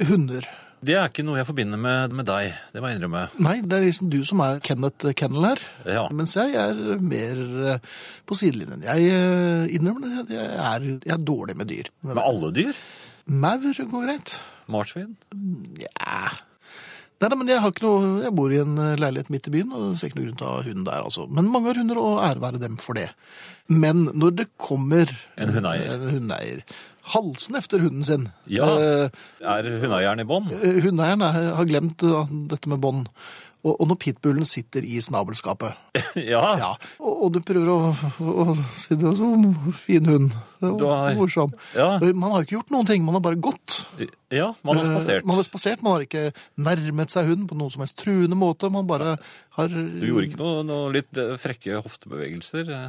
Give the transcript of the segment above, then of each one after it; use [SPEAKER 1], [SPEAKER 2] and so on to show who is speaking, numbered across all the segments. [SPEAKER 1] hunder.
[SPEAKER 2] Det er ikke noe jeg forbinder med, med deg, det må jeg innrømme.
[SPEAKER 1] Nei, det er liksom du som er Kenneth Kennel her.
[SPEAKER 2] Ja.
[SPEAKER 1] Mens jeg er mer eh, på sidelinjen. Jeg eh, innrømmer det, jeg er, jeg er dårlig med dyr. Men
[SPEAKER 2] Med alle dyr?
[SPEAKER 1] maur går greit.
[SPEAKER 2] Marsvin?
[SPEAKER 1] Nja Nei, nei, men jeg, har ikke noe, jeg bor i en eh, leilighet midt i byen, og det ser ikke noe grunn til å ha hund der. altså. Men mange har hunder, og ære være dem for det. Men når det kommer
[SPEAKER 2] En hundeeier.
[SPEAKER 1] en hundeeier, halsen efter hunden sin
[SPEAKER 2] Ja.
[SPEAKER 1] eh,
[SPEAKER 2] Er hundeeieren i bånd?
[SPEAKER 1] Eh, Hundeeieren er- har glemt uh, dette med bånd. Og, og når pitbullen sitter i snabelskapet.
[SPEAKER 2] ja.
[SPEAKER 1] Ja. Og, og du prøver å, å si det var så fin hund. Det
[SPEAKER 2] Du har-
[SPEAKER 1] var morsom.
[SPEAKER 2] Ja.
[SPEAKER 1] Og Man har ikke gjort noen ting, man har bare gått.
[SPEAKER 2] ja, man har
[SPEAKER 1] Eh,
[SPEAKER 2] spasert.
[SPEAKER 1] Man har spasert, man har ikke nærmet seg hunden på noen som helst truende måte. Man bare har
[SPEAKER 2] Du gjorde ikke noe, noe litt eh, frekke hoftebevegelser? eh?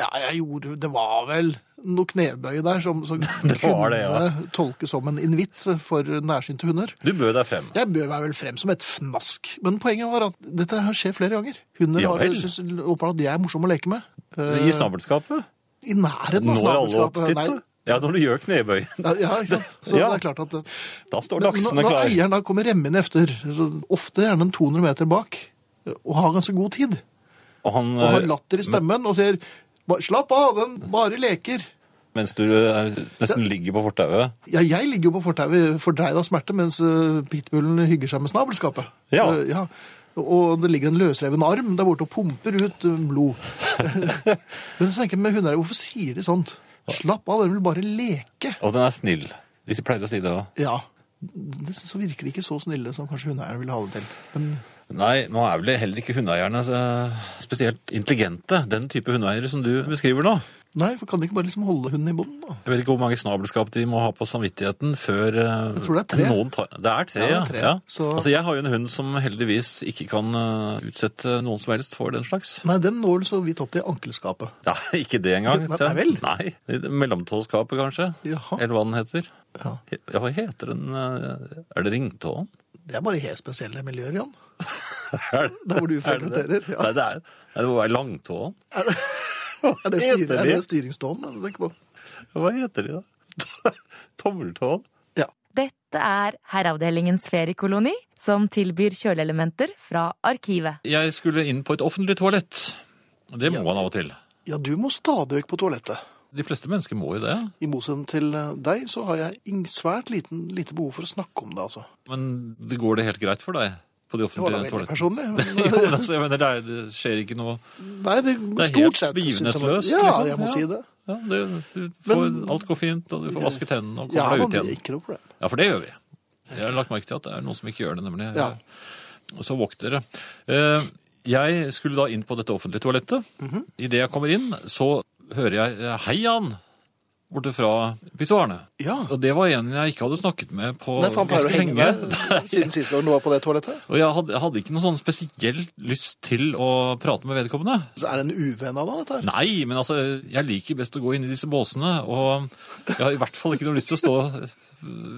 [SPEAKER 1] Ja, jeg gjorde Det var vel noe knebøy der som, som
[SPEAKER 2] var
[SPEAKER 1] kunne
[SPEAKER 2] det, ja.
[SPEAKER 1] tolkes som en invitt for nærsynte hunder.
[SPEAKER 2] Du bød deg frem.
[SPEAKER 1] Jeg bød meg vel frem som et fnask, men poenget var at dette her skjer flere ganger. Hunder
[SPEAKER 2] Ja
[SPEAKER 1] har
[SPEAKER 2] vel.
[SPEAKER 1] synes, åpenbart at de er morsomme å leke med. Eh,
[SPEAKER 2] I snabelskapet?
[SPEAKER 1] I nærheten altså, av
[SPEAKER 2] Når alle opp
[SPEAKER 1] snabelskapet.
[SPEAKER 2] dit? da? Ja, når du gjør knebøy.
[SPEAKER 1] Nei, ja, ikke sant? Så
[SPEAKER 2] Ja.
[SPEAKER 1] det er klart at eh,
[SPEAKER 2] Da står
[SPEAKER 1] men
[SPEAKER 2] daksene
[SPEAKER 1] Når, når
[SPEAKER 2] klar.
[SPEAKER 1] eieren da kommer remmende efter, så ofte gjerne en 200 meter bak, eh, og har ganske god tid,
[SPEAKER 2] Og han,
[SPEAKER 1] og har
[SPEAKER 2] eh,
[SPEAKER 1] latter i stemmen, og sier «Ba- Slapp av, den bare leker.
[SPEAKER 2] mens du eh, nesten ligger på fortauet.
[SPEAKER 1] Ja, jeg ligger jo på fortauet fordreid av smerte, mens eh, pitbullen hygger seg med snabelskapet.
[SPEAKER 2] Ja.
[SPEAKER 1] Eh, ja. Og det ligger en løsreven arm der borte og pumper ut eh, blod. Men så tenker jeg med hunder, hvorfor sier de sånt? Slapp av, den vil bare leke.
[SPEAKER 2] Og den er snill. De pleier å si det òg.
[SPEAKER 1] Ja. Det så virker de ikke så snille som kanskje hundeeierne ville ha det til. Men
[SPEAKER 2] Nei, nå er vel heller ikke hundeeierne eh, spesielt intelligente. Den type hundeeiere som du beskriver nå.
[SPEAKER 1] nei, for kan de ikke bare liksom holde hunden i bånd, da?
[SPEAKER 2] Jeg vet ikke hvor mange snabelskap de må ha på samvittigheten før eh,
[SPEAKER 1] Jeg tror det er tre.
[SPEAKER 2] Noen tar... Det er tre,
[SPEAKER 1] Ja, det er
[SPEAKER 2] ja.
[SPEAKER 1] tre.
[SPEAKER 2] ja.
[SPEAKER 1] Så-
[SPEAKER 2] Altså, jeg har jo en hund som heldigvis ikke kan eh, utsette noen som helst for den slags.
[SPEAKER 1] Nei, den når så vidt opp til ankelskapet.
[SPEAKER 2] Nei, ikke det engang.
[SPEAKER 1] Nei, nei vel.
[SPEAKER 2] Nei, det er Mellomtåskapet, kanskje.
[SPEAKER 1] Jaha.
[SPEAKER 2] Eller hva den heter.
[SPEAKER 1] Ja.
[SPEAKER 2] Ja, hva heter den? eh, Er det ringtåen?
[SPEAKER 1] Det er bare helt spesielle miljøer, Jan.
[SPEAKER 2] Er det-
[SPEAKER 1] Der hvor du
[SPEAKER 2] er det det?
[SPEAKER 1] frekventerer, ja.
[SPEAKER 2] Nei, det er, nei, det må være langtåen.
[SPEAKER 1] Er det,
[SPEAKER 2] Heter
[SPEAKER 1] styr, er
[SPEAKER 2] de?
[SPEAKER 1] det styringsstående? du tenker på?
[SPEAKER 2] Hva heter de, da? Tommeltåen?
[SPEAKER 1] Ja.
[SPEAKER 3] Dette er Herreavdelingens feriekoloni, som tilbyr kjøleelementer fra arkivet.
[SPEAKER 2] Jeg skulle inn på et offentlig toalett. Det må
[SPEAKER 1] Ja.
[SPEAKER 2] man av og til.
[SPEAKER 1] ja, du må stadig vekk på toalettet.
[SPEAKER 2] De fleste mennesker må jo det.
[SPEAKER 1] I motsetning til eh, deg, så har jeg ing- svært liten, lite behov for å snakke om det, altså.
[SPEAKER 2] Men det går det helt greit for deg på de
[SPEAKER 1] Det var da
[SPEAKER 2] offentlige
[SPEAKER 1] veldig
[SPEAKER 2] toalettene?
[SPEAKER 1] personlig.
[SPEAKER 2] Jo, men
[SPEAKER 1] Men, eh,
[SPEAKER 2] altså, jeg mener, det, er, det skjer ikke noe
[SPEAKER 1] nei, det,
[SPEAKER 2] Det er
[SPEAKER 1] stort
[SPEAKER 2] helt
[SPEAKER 1] sett. synes jeg det-
[SPEAKER 2] begivenhetsløst,
[SPEAKER 1] Ja,
[SPEAKER 2] liksom.
[SPEAKER 1] jeg må
[SPEAKER 2] Ja.
[SPEAKER 1] si det.
[SPEAKER 2] ja, det, du får,
[SPEAKER 1] Men-
[SPEAKER 2] Alt går fint, og du får vasket hendene
[SPEAKER 1] Ja,
[SPEAKER 2] og kommer deg
[SPEAKER 1] men
[SPEAKER 2] ut
[SPEAKER 1] det er
[SPEAKER 2] igjen.
[SPEAKER 1] ikke noe problem.
[SPEAKER 2] Ja, for det gjør vi. Jeg har lagt merke til at det er noen som ikke gjør det, nemlig.
[SPEAKER 1] Ja.
[SPEAKER 2] Og Så våkt dere. Eh, Jeg skulle da inn på dette offentlige toalettet.
[SPEAKER 1] Mhm.
[SPEAKER 2] Idet jeg kommer inn, så hører jeg eh, 'Hei, Jan!' borte fra pissoarene.
[SPEAKER 1] Ja.
[SPEAKER 2] Og det var en jeg ikke hadde snakket med på
[SPEAKER 1] Nei, for han pleier å
[SPEAKER 2] ganske
[SPEAKER 1] henge
[SPEAKER 2] lenge.
[SPEAKER 1] der siden sist gang du var på det toalettet.
[SPEAKER 2] Og jeg hadde, hadde ikke noe sånn spesiell lyst til å prate med vedkommende.
[SPEAKER 1] Så er det en uvenn av deg, dette her?
[SPEAKER 2] Nei, men altså, jeg liker best å gå inn i disse båsene, og jeg har i hvert fall ikke noe lyst til å stå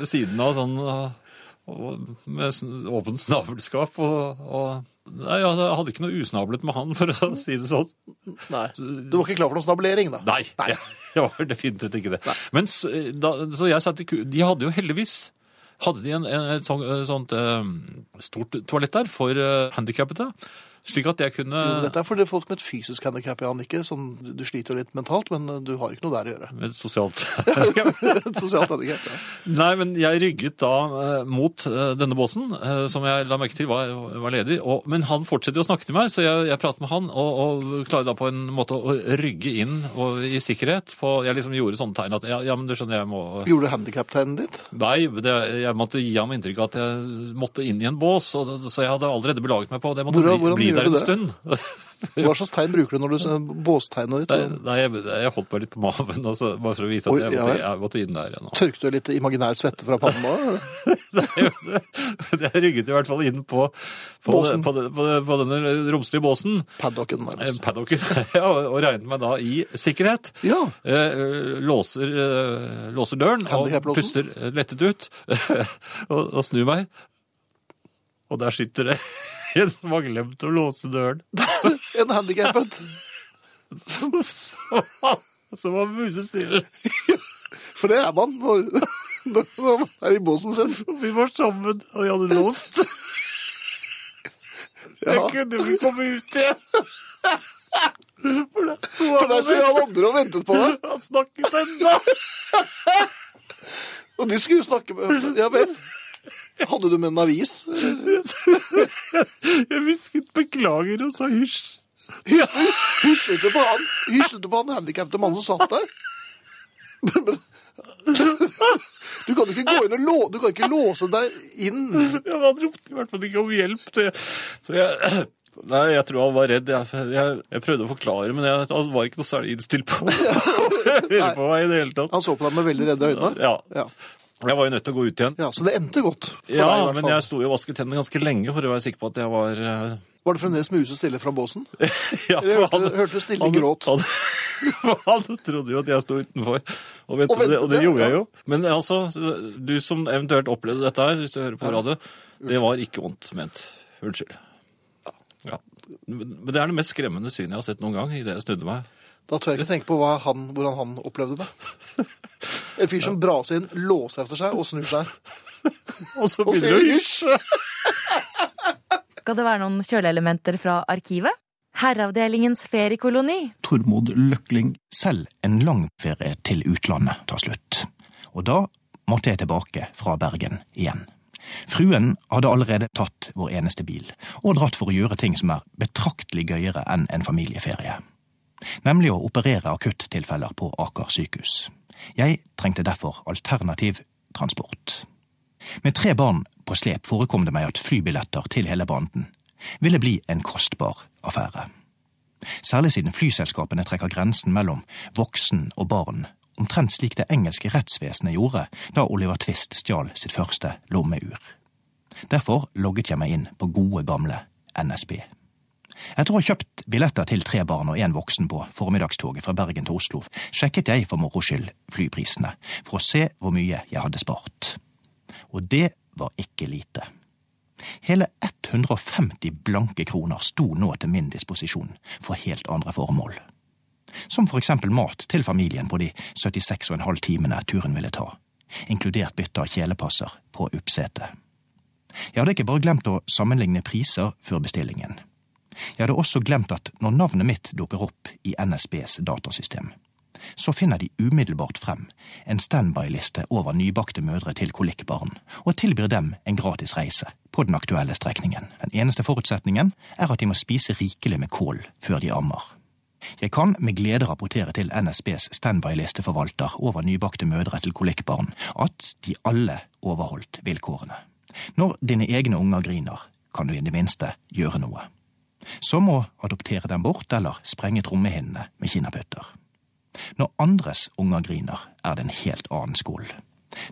[SPEAKER 2] ved siden av sånn og, og, med sånn åpent snabelskap. Og, og, nei, jeg hadde ikke noe usnablet med han, for å si det sånn.
[SPEAKER 1] Nei. Du var ikke klar for noen snablering, da?
[SPEAKER 2] Nei, Jeg, jeg var definitivt ikke det. Men s- da, så jeg satt i ku... De hadde jo heldigvis hadde de en, en, et sånt, sånt eh, stort toalett der for uh, handikappede, slik at jeg kunne
[SPEAKER 1] Jo, men Dette er for det er folk med et fysisk handikap, Jan. Ikke sånn, du sliter jo litt mentalt, men eh, du har ikke noe der å gjøre.
[SPEAKER 2] med et sosialt handikap.
[SPEAKER 1] Et sosialt handikap. Ja.
[SPEAKER 2] Nei, men jeg rygget da eh, mot eh, denne båsen, eh, som jeg la merke til var, var ledig. Og, men han fortsetter å snakke til meg, så jeg, jeg prater med han og, og klarer da på en måte å rygge inn og, i sikkerhet. På, jeg liksom gjorde sånne tegn at ja, ja men du skjønner, jeg må
[SPEAKER 1] Gjorde du handikaptegnet ditt?
[SPEAKER 2] Nei, det, jeg måtte gi ham inntrykk av at jeg måtte inn i en bås, og, så jeg hadde allerede belaget meg på det. Jeg måtte
[SPEAKER 1] Hvordan- hvordan
[SPEAKER 2] bli, bli
[SPEAKER 1] gjør
[SPEAKER 2] der
[SPEAKER 1] du
[SPEAKER 2] en stund.
[SPEAKER 1] Hva slags tegn bruker du når du Båstegnet
[SPEAKER 2] Nei,
[SPEAKER 1] ditt?
[SPEAKER 2] nei jeg, jeg holdt meg litt på maven, og så, bare for å vise
[SPEAKER 1] Oi,
[SPEAKER 2] at jeg
[SPEAKER 1] ja
[SPEAKER 2] måtte,
[SPEAKER 1] vel.
[SPEAKER 2] jeg måtte inn der. igjen.
[SPEAKER 1] Tørket du litt imaginær svette fra pannen da?
[SPEAKER 2] Men jeg rygget i hvert fall inn på, på,
[SPEAKER 1] Båsen.
[SPEAKER 2] på, på, på denne romslige båsen,
[SPEAKER 1] Paddocken,
[SPEAKER 2] eh,
[SPEAKER 1] nærmest.
[SPEAKER 2] paddocken, ja, og og regnet meg da i sikkerhet.
[SPEAKER 1] Ja.
[SPEAKER 2] Eh, Låser, eh, låser døren og
[SPEAKER 1] Handicap-låsen?
[SPEAKER 2] puster lettet ut og, og snur meg. Og der sitter det en som har glemt å låse døren.
[SPEAKER 1] En handikappet.
[SPEAKER 2] Som, som, som var musestille.
[SPEAKER 1] For det er man når Da var man her i båsen sin.
[SPEAKER 4] Vi var sammen, og jeg hadde låst.
[SPEAKER 1] Ja.
[SPEAKER 4] Jeg kunne ikke komme ut igjen. For der sto
[SPEAKER 1] For
[SPEAKER 4] han
[SPEAKER 1] der sto
[SPEAKER 4] og
[SPEAKER 1] han andre og ventet på deg,
[SPEAKER 4] Han snakket ennå.
[SPEAKER 1] og du skulle jo snakke med Ja vel. Hadde du med en avis?
[SPEAKER 4] Jeg hvisket 'beklager' og sa 'hysj'.
[SPEAKER 1] Hyslet du på han, hyslet du på han handikapte mannen som satt der? Men- men- Du kan ikke gå inn og lå, du kan ikke låse deg inn.
[SPEAKER 4] Ja, men han ropte i hvert fall ikke om hjelp. Det. Så jeg, nei, jeg tror han var redd. Jeg, jeg, jeg prøvde å forklare, men jeg, han var ikke noe særlig innstilt på å høre på meg i det hele tatt.
[SPEAKER 1] Han så på deg med veldig redde øyne.
[SPEAKER 4] Ja,
[SPEAKER 1] Ja.
[SPEAKER 4] Jeg var jo nødt til å gå ut igjen.
[SPEAKER 1] ja, Så det endte godt. For
[SPEAKER 4] Ja,
[SPEAKER 1] deg, i hvert
[SPEAKER 4] men
[SPEAKER 1] fall.
[SPEAKER 4] jeg sto jo og vasket tennene ganske lenge for å være sikker på at jeg var eh,
[SPEAKER 1] Var det fremdeles muset stille fra båsen?
[SPEAKER 4] ja,
[SPEAKER 1] Eller
[SPEAKER 4] for
[SPEAKER 1] hørte- hørte du stille
[SPEAKER 4] han-
[SPEAKER 1] gråt?
[SPEAKER 4] Han, han trodde jo at jeg sto utenfor og ventet,
[SPEAKER 1] Og ventet,
[SPEAKER 4] det, og det
[SPEAKER 1] ja,
[SPEAKER 4] gjorde jeg
[SPEAKER 1] ja.
[SPEAKER 4] jo. Men altså, du som eventuelt opplevde dette her, hvis du hører på radio, det var ikke vondt ment. Unnskyld. Ja. Men men det er det mest skremmende synet jeg har sett noen gang idet jeg snudde meg.
[SPEAKER 1] Da tør jeg ikke tenke på hva han, hvordan han opplevde det. En fyr som braser inn, låser efter seg og snur seg.
[SPEAKER 4] Og så
[SPEAKER 1] Og
[SPEAKER 4] begynner
[SPEAKER 1] sier
[SPEAKER 4] du
[SPEAKER 1] hysj!
[SPEAKER 3] Skal det være noen kjøleelementer fra arkivet? Herreavdelingens feriekoloni.
[SPEAKER 5] Tormod Løkling selv en lang ferie til utlandet tar slutt. Og da måtte jeg tilbake fra Bergen igjen. Fruen hadde allerede tatt vår eneste bil, og dratt for å gjøre ting som er betraktelig gøyere enn en familieferie. Nemlig å operere akuttilfeller på Aker sykehus. Jeg trengte derfor alternativ transport. Med tre barn på slep forekom det meg at flybilletter til hele banden ville bli en kostbar affære særlig siden flyselskapene trekker grensen mellom voksen og barn, omtrent slik det engelske rettsvesenet gjorde da Oliver Twist stjal sitt første lommeur. Derfor logget jeg meg inn på gode, gamle NSB. Etter å ha kjøpt billetter til tre barn og én voksen på formiddagstoget fra Bergen til Oslo, sjekket jeg for moro skyld flyprisene, for å se hvor mye jeg hadde spart. Og det var ikke lite. Hele 150 blanke kroner sto nå til min disposisjon for helt andre formål. Som for eksempel mat til familien på de 76,5 timene turen ville ta, inkludert bytte av kjelepasser på Uppsetet. Jeg hadde ikke bare glemt å sammenligne priser før bestillingen. Jeg hadde også glemt at når navnet mitt dukker opp i NSBs datasystem, så finner de umiddelbart frem en standby-liste over nybakte mødre til kolikkbarn, og tilbyr dem en gratis reise på den aktuelle strekningen. Den eneste forutsetningen er at de må spise rikelig med kål før de ammer. Jeg kan med glede rapportere til NSBs standby-listeforvalter over nybakte mødre til kolikkbarn at de alle overholdt vilkårene. Når dine egne unger griner, kan du i det minste gjøre noe. Som å adoptere dem bort eller sprenge trommehinnene med kinaputter. Når andres unger griner, er det en helt annen skål.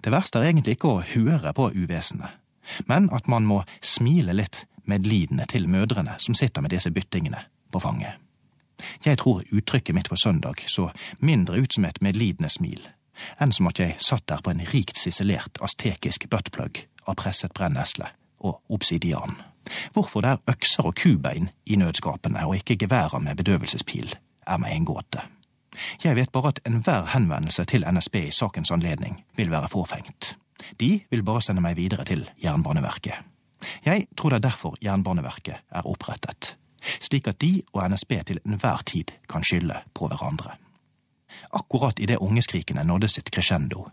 [SPEAKER 5] Det verste er egentlig ikke å høre på uvesenet, men at man må smile litt medlidende til mødrene som sitter med disse byttingene på fanget. Jeg tror uttrykket mitt på søndag så mindre ut som et medlidende smil, enn som at jeg satt der på en rikt ciselert aztekisk buttplug av presset brennesle og obsidian. Hvorfor det er økser og kubein i nødskapene og ikke geværer med bedøvelsespil, er meg en gåte. Jeg vet bare at enhver henvendelse til NSB i sakens anledning vil være forfengt. De vil bare sende meg videre til Jernbaneverket. Jeg tror det er derfor Jernbaneverket er opprettet, slik at de og NSB til enhver tid kan skylde på hverandre. Akkurat idet ungeskrikene nådde sitt crescendo,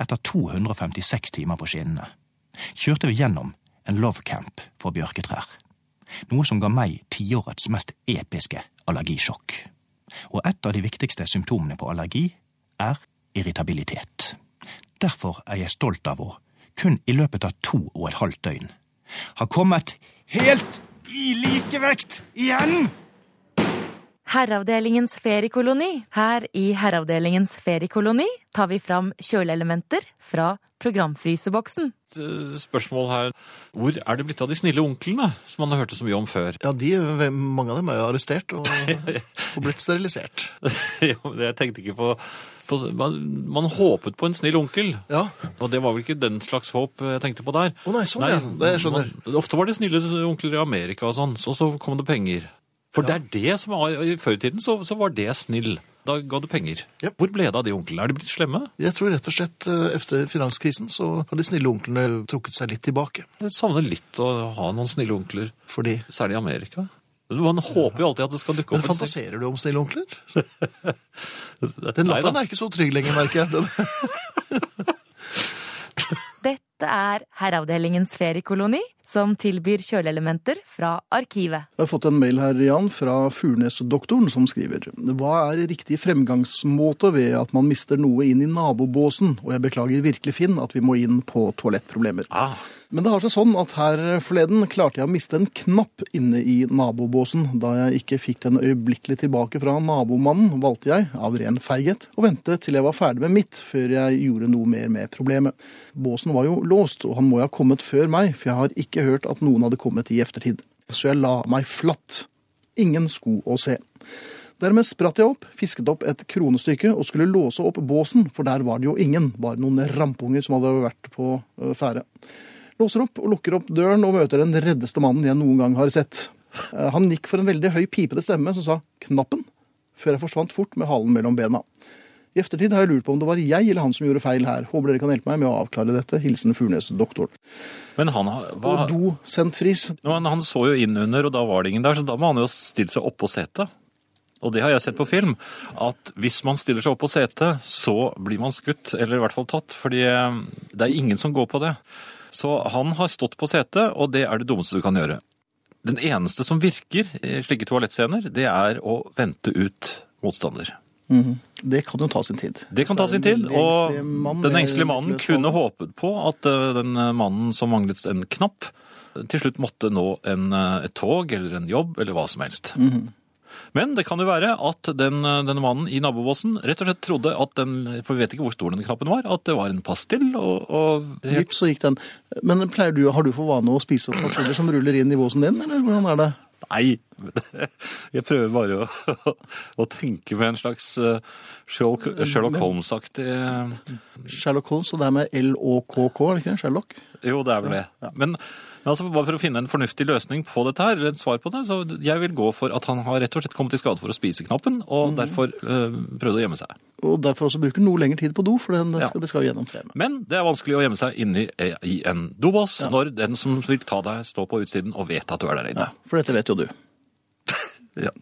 [SPEAKER 5] etter 256 timer på skinnene, kjørte vi gjennom en love camp for bjørketrær, noe som ga meg tiårets mest episke allergisjokk og et av de viktigste symptomene på allergi er irritabilitet. Derfor er jeg stolt av å kun i løpet av to og et halvt døgn har kommet helt i likevekt igjen!
[SPEAKER 3] Herreavdelingens feriekoloni. Her i Herreavdelingens feriekoloni tar vi fram kjøleelementer fra programfryseboksen.
[SPEAKER 2] Et eh, spørsmål her. Hvor er det blitt av de snille onklene som man hørte så mye om før?
[SPEAKER 1] Ja, de, hvem- mange av dem er jo arrestert og, og blitt sterilisert.
[SPEAKER 2] Ja, men jeg tenkte ikke på, på man, man håpet på en snill onkel,
[SPEAKER 1] Ja,
[SPEAKER 2] og det var vel ikke den slags håp jeg tenkte på der.
[SPEAKER 1] Å nei, sånn ja. Det skjønner.
[SPEAKER 2] man- ofte var det snille onkler i Amerika og sånn, så, så kom det penger.
[SPEAKER 6] For det er det som var, i Før i tiden så, så var det snill. Da ga du penger.
[SPEAKER 7] Japp.
[SPEAKER 6] Hvor ble det av de onklene? Er de blitt slemme?
[SPEAKER 7] Jeg tror rett og slett eh, efter finanskrisen så har de snille onklene trukket seg litt tilbake.
[SPEAKER 6] Jeg savner litt å ha noen snille onkler,
[SPEAKER 7] Fordi
[SPEAKER 6] særlig i Amerika. Man håper jo alltid at det skal dukke
[SPEAKER 7] Men
[SPEAKER 6] opp et sted.
[SPEAKER 7] fantaserer du om snille onkler? Den
[SPEAKER 6] Nei da.
[SPEAKER 7] latteren er ikke så trygg lenger, merker jeg. Den,
[SPEAKER 3] Dette er Herreavdelingens feriekoloni, som tilbyr kjøleelementer fra arkivet.
[SPEAKER 1] Jeg har fått en mail her, Jan, fra Furnes-doktoren, som skriver Hva er riktig fremgangsmåte ved at man mister noe inn i nabobåsen? Og jeg beklager virkelig, Finn, at vi må inn på toalettproblemer.
[SPEAKER 6] Ah,
[SPEAKER 1] Men det har seg sånn at her forleden klarte jeg å miste en knapp inne i nabobåsen. Da jeg ikke fikk den øyeblikkelig tilbake fra nabomannen, valgte jeg, av ren feighet, å vente til jeg var ferdig med mitt, før jeg gjorde noe mer med problemet. Båsen var jo låst, og han må jo ha kommet før meg, for jeg har ikke hørt at noen hadde kommet i eftertid. Så jeg la meg flatt. Ingen sko å se. Dermed spratt jeg opp, fisket opp et kronestykke og skulle låse opp båsen, for der var det jo ingen, bare noen rampunger som hadde vært på øh, ferde. Låser opp og lukker opp døren og møter den reddeste mannen jeg noen gang har sett. Eh, Han gikk for en veldig høy pipete stemme som sa 'knappen', før jeg forsvant fort med halen mellom bena. I eftertid har jeg lurt på om det var jeg eller han som gjorde feil her. Håper dere kan hjelpe meg med å avklare dette. Hilsen Furnes-doktoren.
[SPEAKER 2] Men han, har- hva,
[SPEAKER 1] Og dosentfris.
[SPEAKER 2] men han så jo inn under, og da var det ingen der, så da må han jo stille seg oppå setet. Og det har jeg sett på film, at hvis man stiller seg oppå setet, så blir man skutt, eller i hvert fall tatt, fordi eh, det er ingen som går på det. Så han har stått på setet, og det er det dummeste du kan gjøre. Den eneste som virker i slike toalettscener, det er å vente ut motstander.
[SPEAKER 1] Mhm. Det kan jo ta sin tid.
[SPEAKER 2] Det kan ta
[SPEAKER 1] Så
[SPEAKER 2] sin
[SPEAKER 1] det er en
[SPEAKER 2] tid,
[SPEAKER 1] veldig
[SPEAKER 2] og
[SPEAKER 1] engstelig mann,
[SPEAKER 2] den
[SPEAKER 1] eh,
[SPEAKER 2] engstelige mannen
[SPEAKER 1] utløst
[SPEAKER 2] kunne
[SPEAKER 1] av-
[SPEAKER 2] håpet på at eh, den mannen som manglet en knapp, til slutt måtte nå en, eh, et tog eller en jobb eller hva som helst.
[SPEAKER 1] Mhm.
[SPEAKER 2] Men det kan jo være at den, eh, denne mannen i nabobåsen rett og slett trodde at den, for vi vet ikke hvor stor den knappen var, at det var en pastill og, og helt
[SPEAKER 1] Vips, så gikk den. Men pleier du, har du for vane å spise opp pastiller som ruller inn i båsen din, eller hvordan er det?
[SPEAKER 2] Nei, jeg prøver bare å, å tenke med en slags eh, Sherlock,
[SPEAKER 1] Mm,
[SPEAKER 2] Sherlock Holmes-aktig eh,
[SPEAKER 1] Sherlock Holmes, og det er med L-O-K-K, er det ikke det? Sherlock?
[SPEAKER 2] Jo, det er vel det. Men, men altså, bare for å finne en fornuftig løsning på dette her, eller et svar på det, så jeg vil gå for at han har rett og slett kommet i skade for å spise knappen, og derfor øh, prøvde å gjemme seg.
[SPEAKER 1] Og derfor også bruker noe lengre tid på do, for den,
[SPEAKER 2] Ja.
[SPEAKER 1] skal, det skal jo gjennom tre.
[SPEAKER 2] Men det er vanskelig å gjemme seg inni eh, i en dobås når den som vil ta deg, står på utsiden og vet at du er der inne.
[SPEAKER 1] Ja, for dette vet jo du.
[SPEAKER 2] Ja.